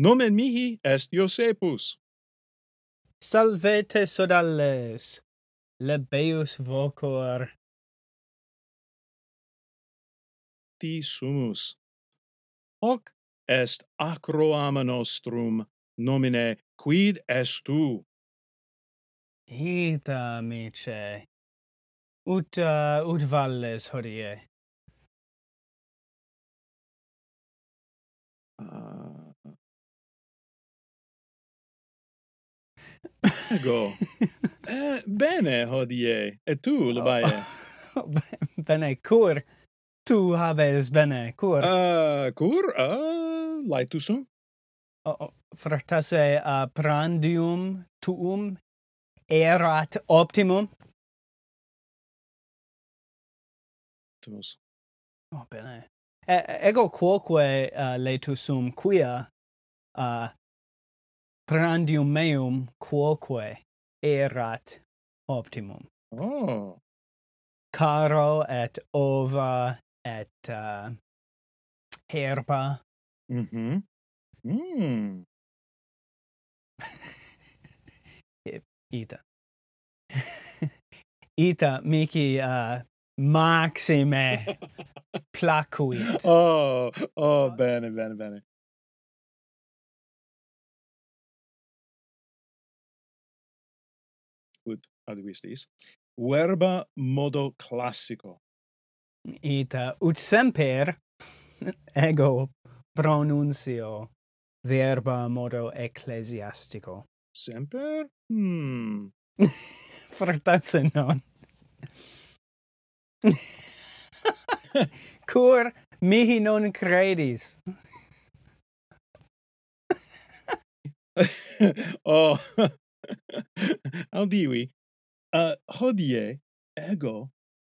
Nomen mihi est Iosepus. Salvete sodales, lebeus vocor. Ti sumus. Hoc est acroama nostrum nomine quid est tu? Ita, amice. Ut, uh, ut valles hodie. Ah. Ego. eh, bene hodie. Et Oh. tu, Lubae? bene cur. Tu habes bene cur. Ah, cur? Ah, laetusum? O- o- Fractase a oh, uh, prandium tuum erat optimum. Optimus. Oh, bene. E ego quoque uh, letusum quia uh, prandium meum quoque erat optimum. Oh. Caro et ova et uh, herba. Mhm. Mm. Ita. Ita mici uh, maxime placuit. Oh, oh, bene, bene, bene. Ut ad vistis. Verba modo classico. Ita ut semper ego pronuncio verba modo ecclesiastico. Semper? Hmm. Fractase non. Cur mihi non credis. oh. Audivi. Uh, hodie ego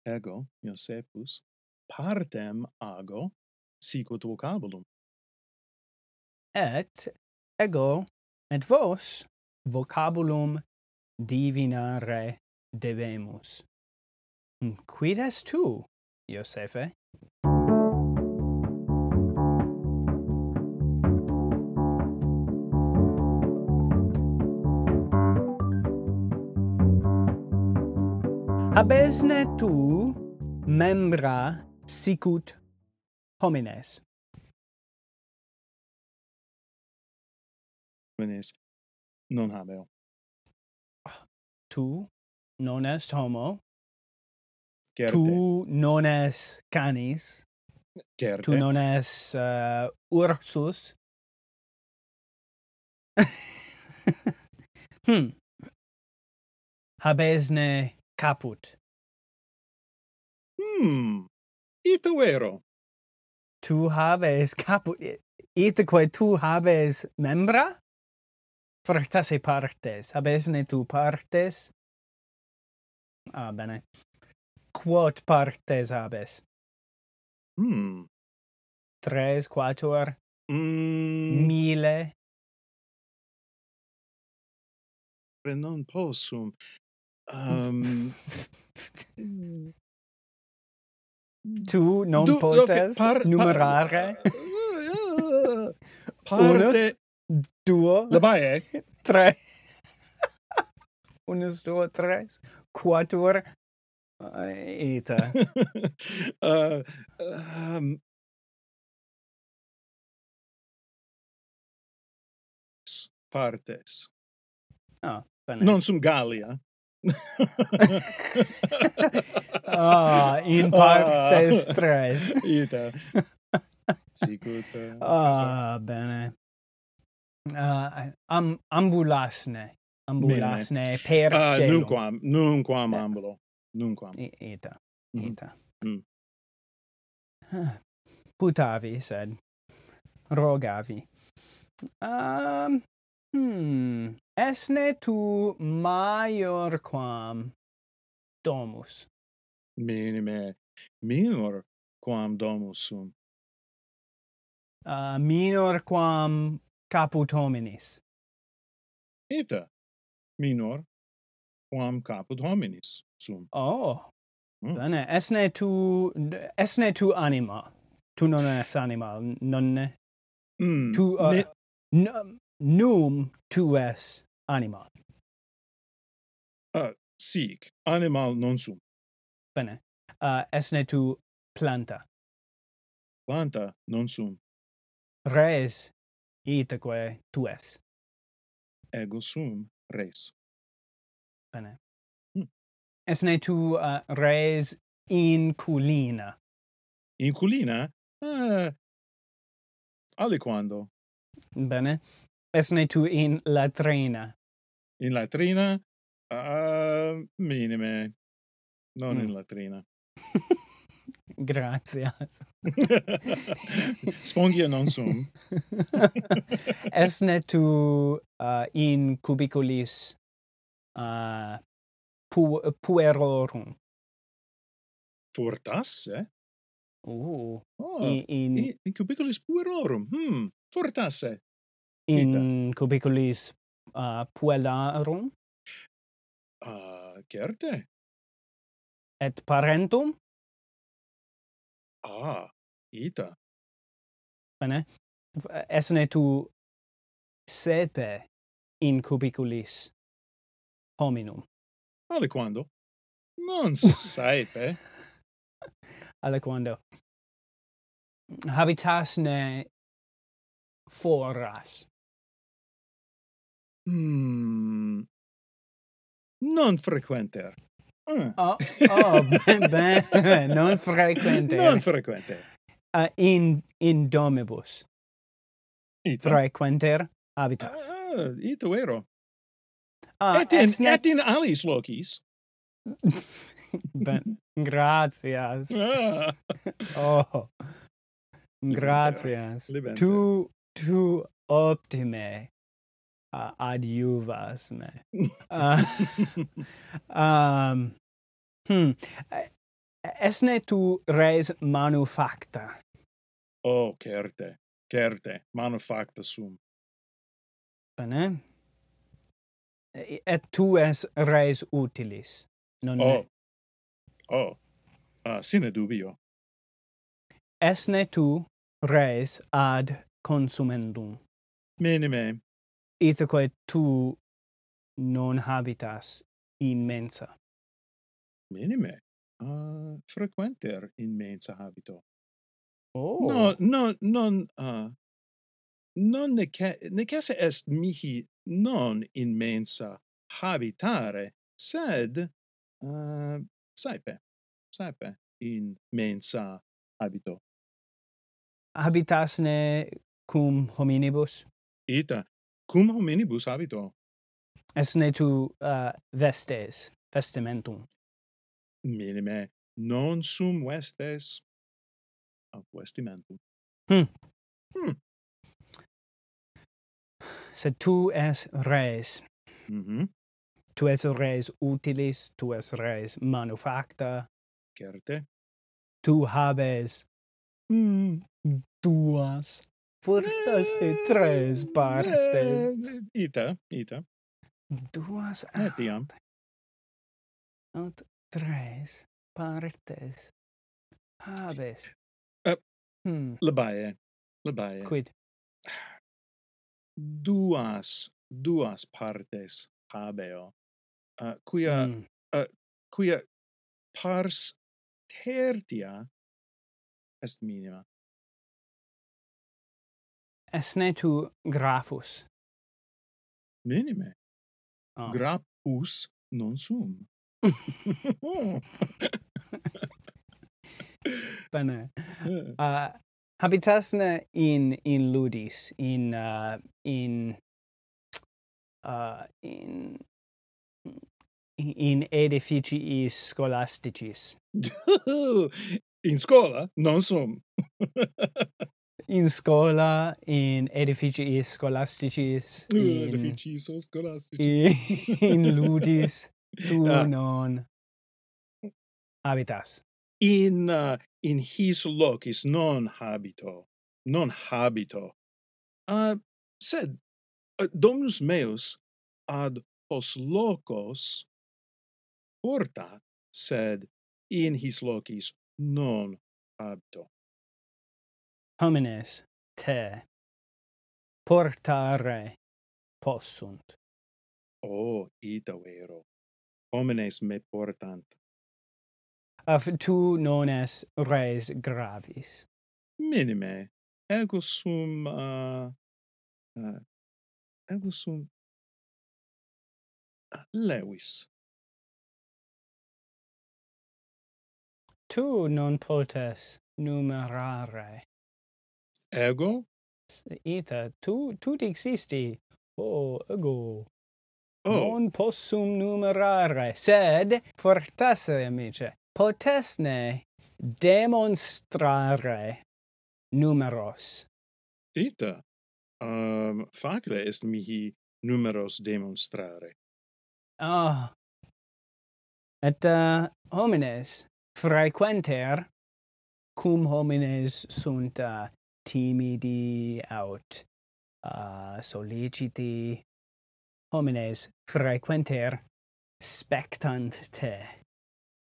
ego Iosepus partem ago sicut vocabulum. Et ego et vos vocabulum divinare debemus. Mm, Quid est tu, Iosephe? Habesne tu membra sicut homines. Venis non habeo. tu non est homo, Certe, tu non es canis, certe. tu non es uh, ursus. hmm. Habesne caput. Hmm. Ito vero. Tu habes caput. I- Itaque tu habes membra? Fractase partes. Habesne tu partes? Ah, bene. Quod partes habes? Hmm. Tres, quatuor, Mm, mille? non possum. Um, tu Mm. non du- ok, potes par- par- numerare parte duo Labae. tre unus duo tres quatuor eta uh, um, partes. Bene. Non eh. sum Gallia. ah in partes Ah. tres Ita. Sicut. uh, ah bene uh, am ambulasne ambulasne per Ah, celum. nunquam, nunquam Eh. ambulo. Nunquam. I- eta Mhm. eta Mm. Ah, putavi sed rogavi um hmm esne tu maior quam domus Minime minor quam domus sum. uh, minor quam caput hominis Ita minor quam caput hominis sum. oh Mm. bene esne tu esne tu anima tu non es anima nonne Mm. tu uh, ne, Num, num tu es animal. Sic, animal non sum. Bene. Uh, esne tu planta. Planta non sum. Res itaque tu es. Ego sum res. Bene. Hmm. Esne tu uh, res inculina. Inculina? Ah, aliquando. Bene. Esne tu in latrina. In latrina? Ah, minime. Non in Mm. latrina. Gracias. Spongia non sum. Esne tu uh, in cubiculis uh, pu- puerorum. Fortasse? Ooh. Oh, In, in, in, in cubiculis puerorum. Hmm, fortasse. in cubiculis uh, puellarum Ah, certe. et parentum. Ah, ita. Bene. V- Esne tu sepe in cubiculis hominum. Aliquando? Non saepe. aliquando habitasne foras Hmm. Non frequenter. Ah, oh, oh ben, ben non frequente Non frequenter. uh, in in domibus Ita. frequenter Ah, habitas ah, ita vero. ah, et, in, esne- et in alis locis. ben, gracias Ah, oh Libenter. gracias Libenter. tu tu optime uh, adjuvas me uh, Um, hmm. Eh, Esne tu res manufacta. oh, certe. Certe. Manufacta sum. Bene? Eh, Et tu es res utilis. Non Oh. oh. Oh. Ah, sine dubio. Esne tu res ad consumendum. Minime. Itaque tu non habitas immensa. Minime. Ah, frequenter in mensa habito. Oh. No, no, non, uh, non nece, necesse est mihi non in mensa habitare, sed uh, saepe, saepe in mensa habito. Habitasne cum hominibus? Ita, cum hominibus habito, Esne tu uh, vestes, vestimentum. minime non sum vestes ab vestimentum. Sed tu es res Mhm, tu es res utilis, tu es res manufacta, certe. tu habes mm, duas fortas e tres partes. Eh, Ita, ita, eh, Duas etiam. ad tres partes habes. Eh. Hmm, Labae, labae. quid? duas duas partes habeo uh, quia Mm, quia pars tertia est minima Esne tu graphus? minime Ah. grappus non sum Oh, Bene. eh. Uh, habitasne in in ludis in uh, in uh, in in edificiis scholasticis in scola non sum in scola in edificiis scholasticis Uh, in, deficiso scholasticis in, in ludis tu Ah. non habitas in uh, in his locis non habito non habito uh, sed uh, dominus meus ad pos locos portat sed in his locis non habito homines te portare possunt. O ita vero. Oh, Homines me portant. Af tu non es res gravis. Minime. Ego sum... Uh, uh, ego sum... uh, Lewis. Tu non potes numerare. Ego? Ita, tu, tu dixisti, o ego, Oh, non possum numerare, sed fortasse, amice, potesne demonstrare numeros. ita. Um, facile est mihi numeros demonstrare. Ah. Et uh, homines frequenter cum homines sunt uh, timidi aut uh, soliciti homines frequenter spectant te.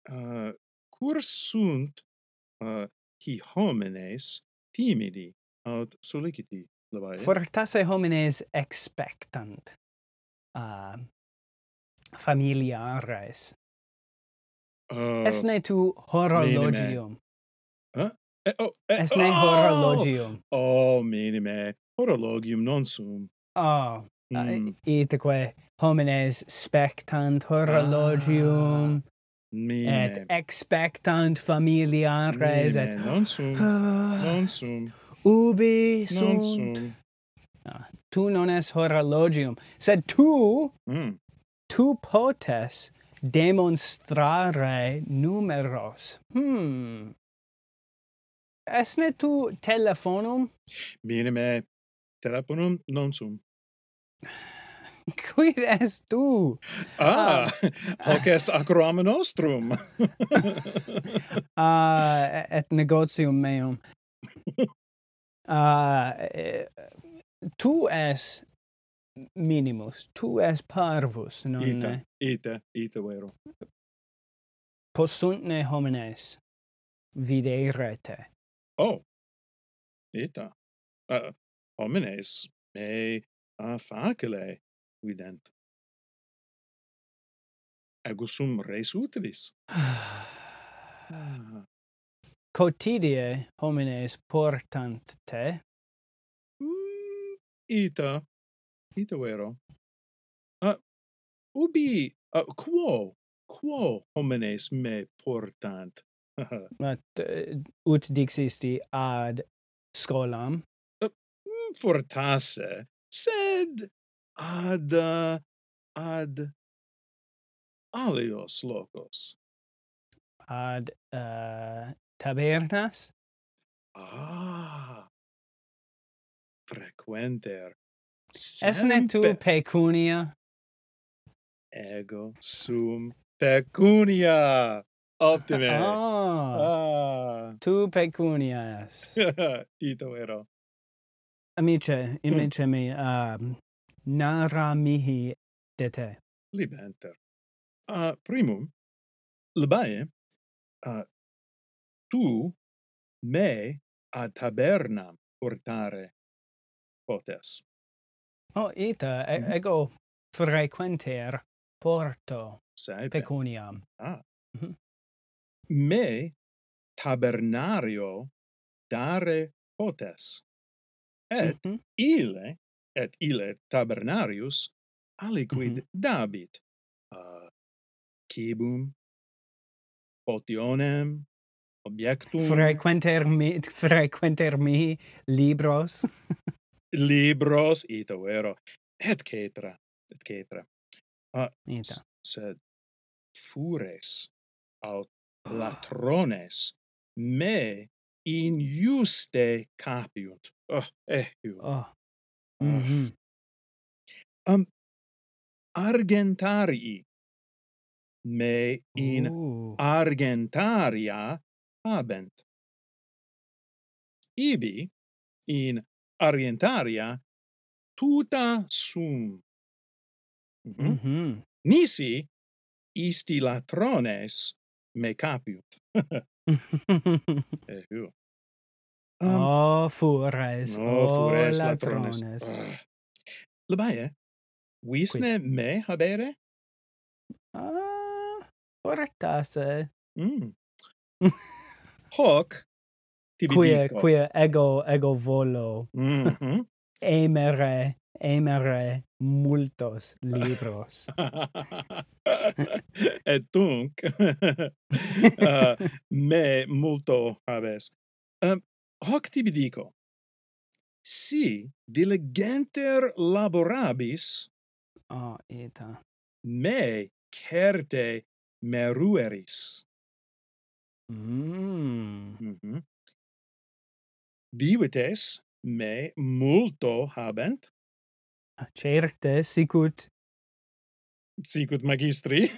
Uh, cur sunt uh, hi homines timidi aut soliciti, labae? Fortasse homines expectant uh, familiares. uh, Esne tu horologium. eh, oh, eh, Esne oh! horologium. Oh, minime, horologium non sum. Ah. Mm, Uh, itaque homines spectant horologium minime. et expectant familiares minime, et Ah, Non sum, non sum, ubi non sunt sum. tu non es horologium sed tu Mm. tu potes demonstrare numeros hmm esne tu telefonum Minime, teleponum non sum. quid est tu Ah, hoc est acroam nostrum. uh, et negotium meum. uh, eh, tu es minimus, tu es parvus, non Ita, ita, ita vero. possuntne homines videre te. Oh, ita. Uh, homines me a facile vident. Ego sum res utilis. Ah, Cotidie homines portant te, Mm, ita, ita vero. Uh, ubi, uh, quo, quo homines me portant? Mm, at, eh, ut dixisti ad scolam, Mm, Fortasse, sed ad, uh, ad alios locos. ad uh, tabernas, Ah, frequenter. esne tu Semper pecunia ego sum pecunia optime. Ah, Ah. tu pecunias. Ito ero. Amice, imice Mm. mi, um, nara mihi de te. Libenter. Uh, primum, labae, uh, tu me ad tabernam portare potes. Oh, ita, e- Mhm. ego frequenter porto Saepe. pecuniam. Ah. Mhm. Me tabernario dare potes. Et Mhm. ile et ile tabernarius aliquid dabit uh, cibum potionem objectum Frequenter mi, frequenter mihi libros. libros ita vero et cetera et cetera Ita. sed fures aut Ah. latrones me injuste capiunt. Oh, ehiu. Oh. Ah. Mhm. Um, argentarii me in Ah, Ooh. argentaria habent. Ibi in argentaria tuta sum. Mhm. Mhm. Nisi isti Eh, mhm. latrones me capiunt. Ehu. Um, o Oh, fures, Oh, no, fures latrones. latrones. Ah. Ugh. Labaje, wisne me habere? Ah, oratase. Mm. Hoc tibi Quia, dico. quia ego, ego volo, Mhm. emere, emere multos libros. Et tunc uh, me multo habes. Um, hoc tibi dico. Si diligenter laborabis, Ah, eta. me certe merueris. Mm. Mhm. Divites me multo habent, Certe sicut. sicut magistri.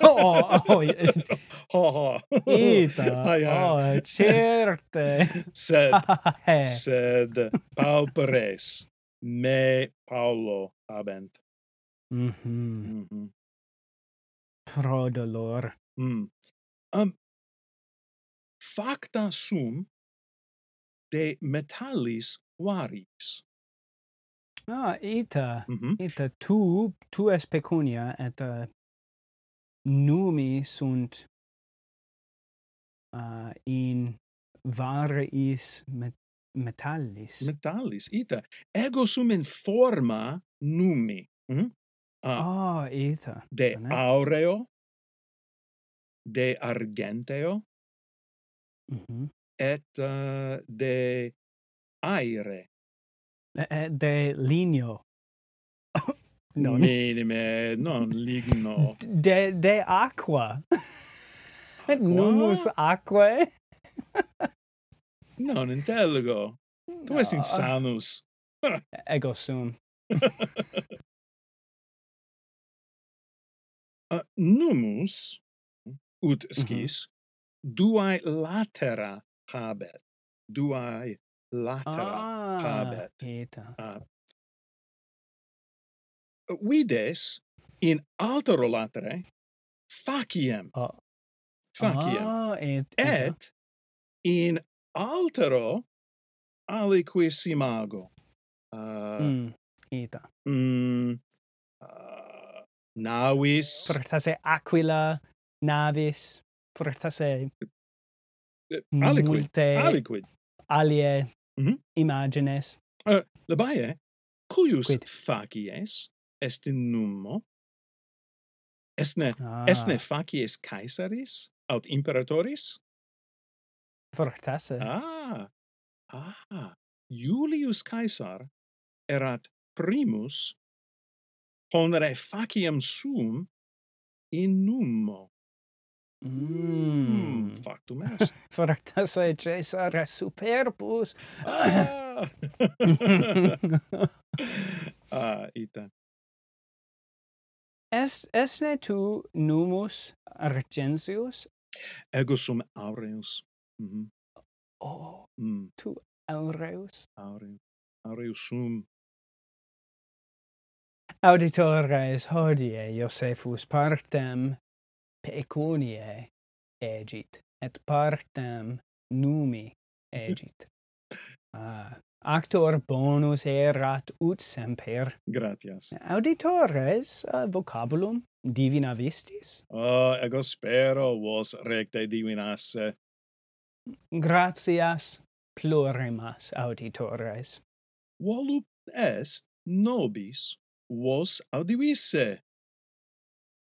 Oh, oh, et- ha ha. eta. Oh, Ai, ai. Oh, certe. Sed, Eh, sed pauperes me Paulo habent. mhm. Mhm. Pro dolor. Mm. Um, facta sum de metallis varis. Ah, eta. Mhm. Eta tu, tu es pecunia, et uh, numi sunt uh, in variis met metallis. Metallis, ita. Ego sum in forma numi. Mhm. Ah, Ah, eta. de Bene. aureo, de argenteo, Mhm. et uh, de aere. E- e- De linio. non. Minime, non ligno. De, de aqua. Et numus aquae? non intelligo. Tu es No. insanus. Ego sum. Uh, numus, ut Mm-hmm. scis, duae latera habet. Duae latera. Ah, habet. eta. Vides in altero latere faciem. Ah. Faciem. Ah, et, eta. et in altero aliquis imago uh, Mm, eta. mm. uh, navis Fortase aquila navis, fortase eh, aliquid multe aliquid alie Mhm. imagines. uh, labae cuius Quid? facies est in nummo esne Ah, esne facies caesaris aut imperatoris Fortase. ah ah Julius Caesar erat primus ponere faciem sum in nummo. Mm. Mm, factum est. Fortase Caesar superbus. ah! ah, ita. Est esne tu numus argensius? Ego sum aureus. Mhm. Oh, Mm, aureus. aureus. Aureus sum. Auditores hodie Josephus partem pecuniae egit, et partem numi egit. Ah, actor bonus erat ut semper. Gratias. Eh. Auditores uh, vocabulum divina vistis? Oh, ego spero vos recte divinasse. Gratias plurimas auditores. Volup est nobis vos audivisse.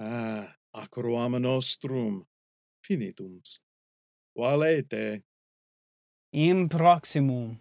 Ah, acroam nostrum finitum. est. Valete. In proximum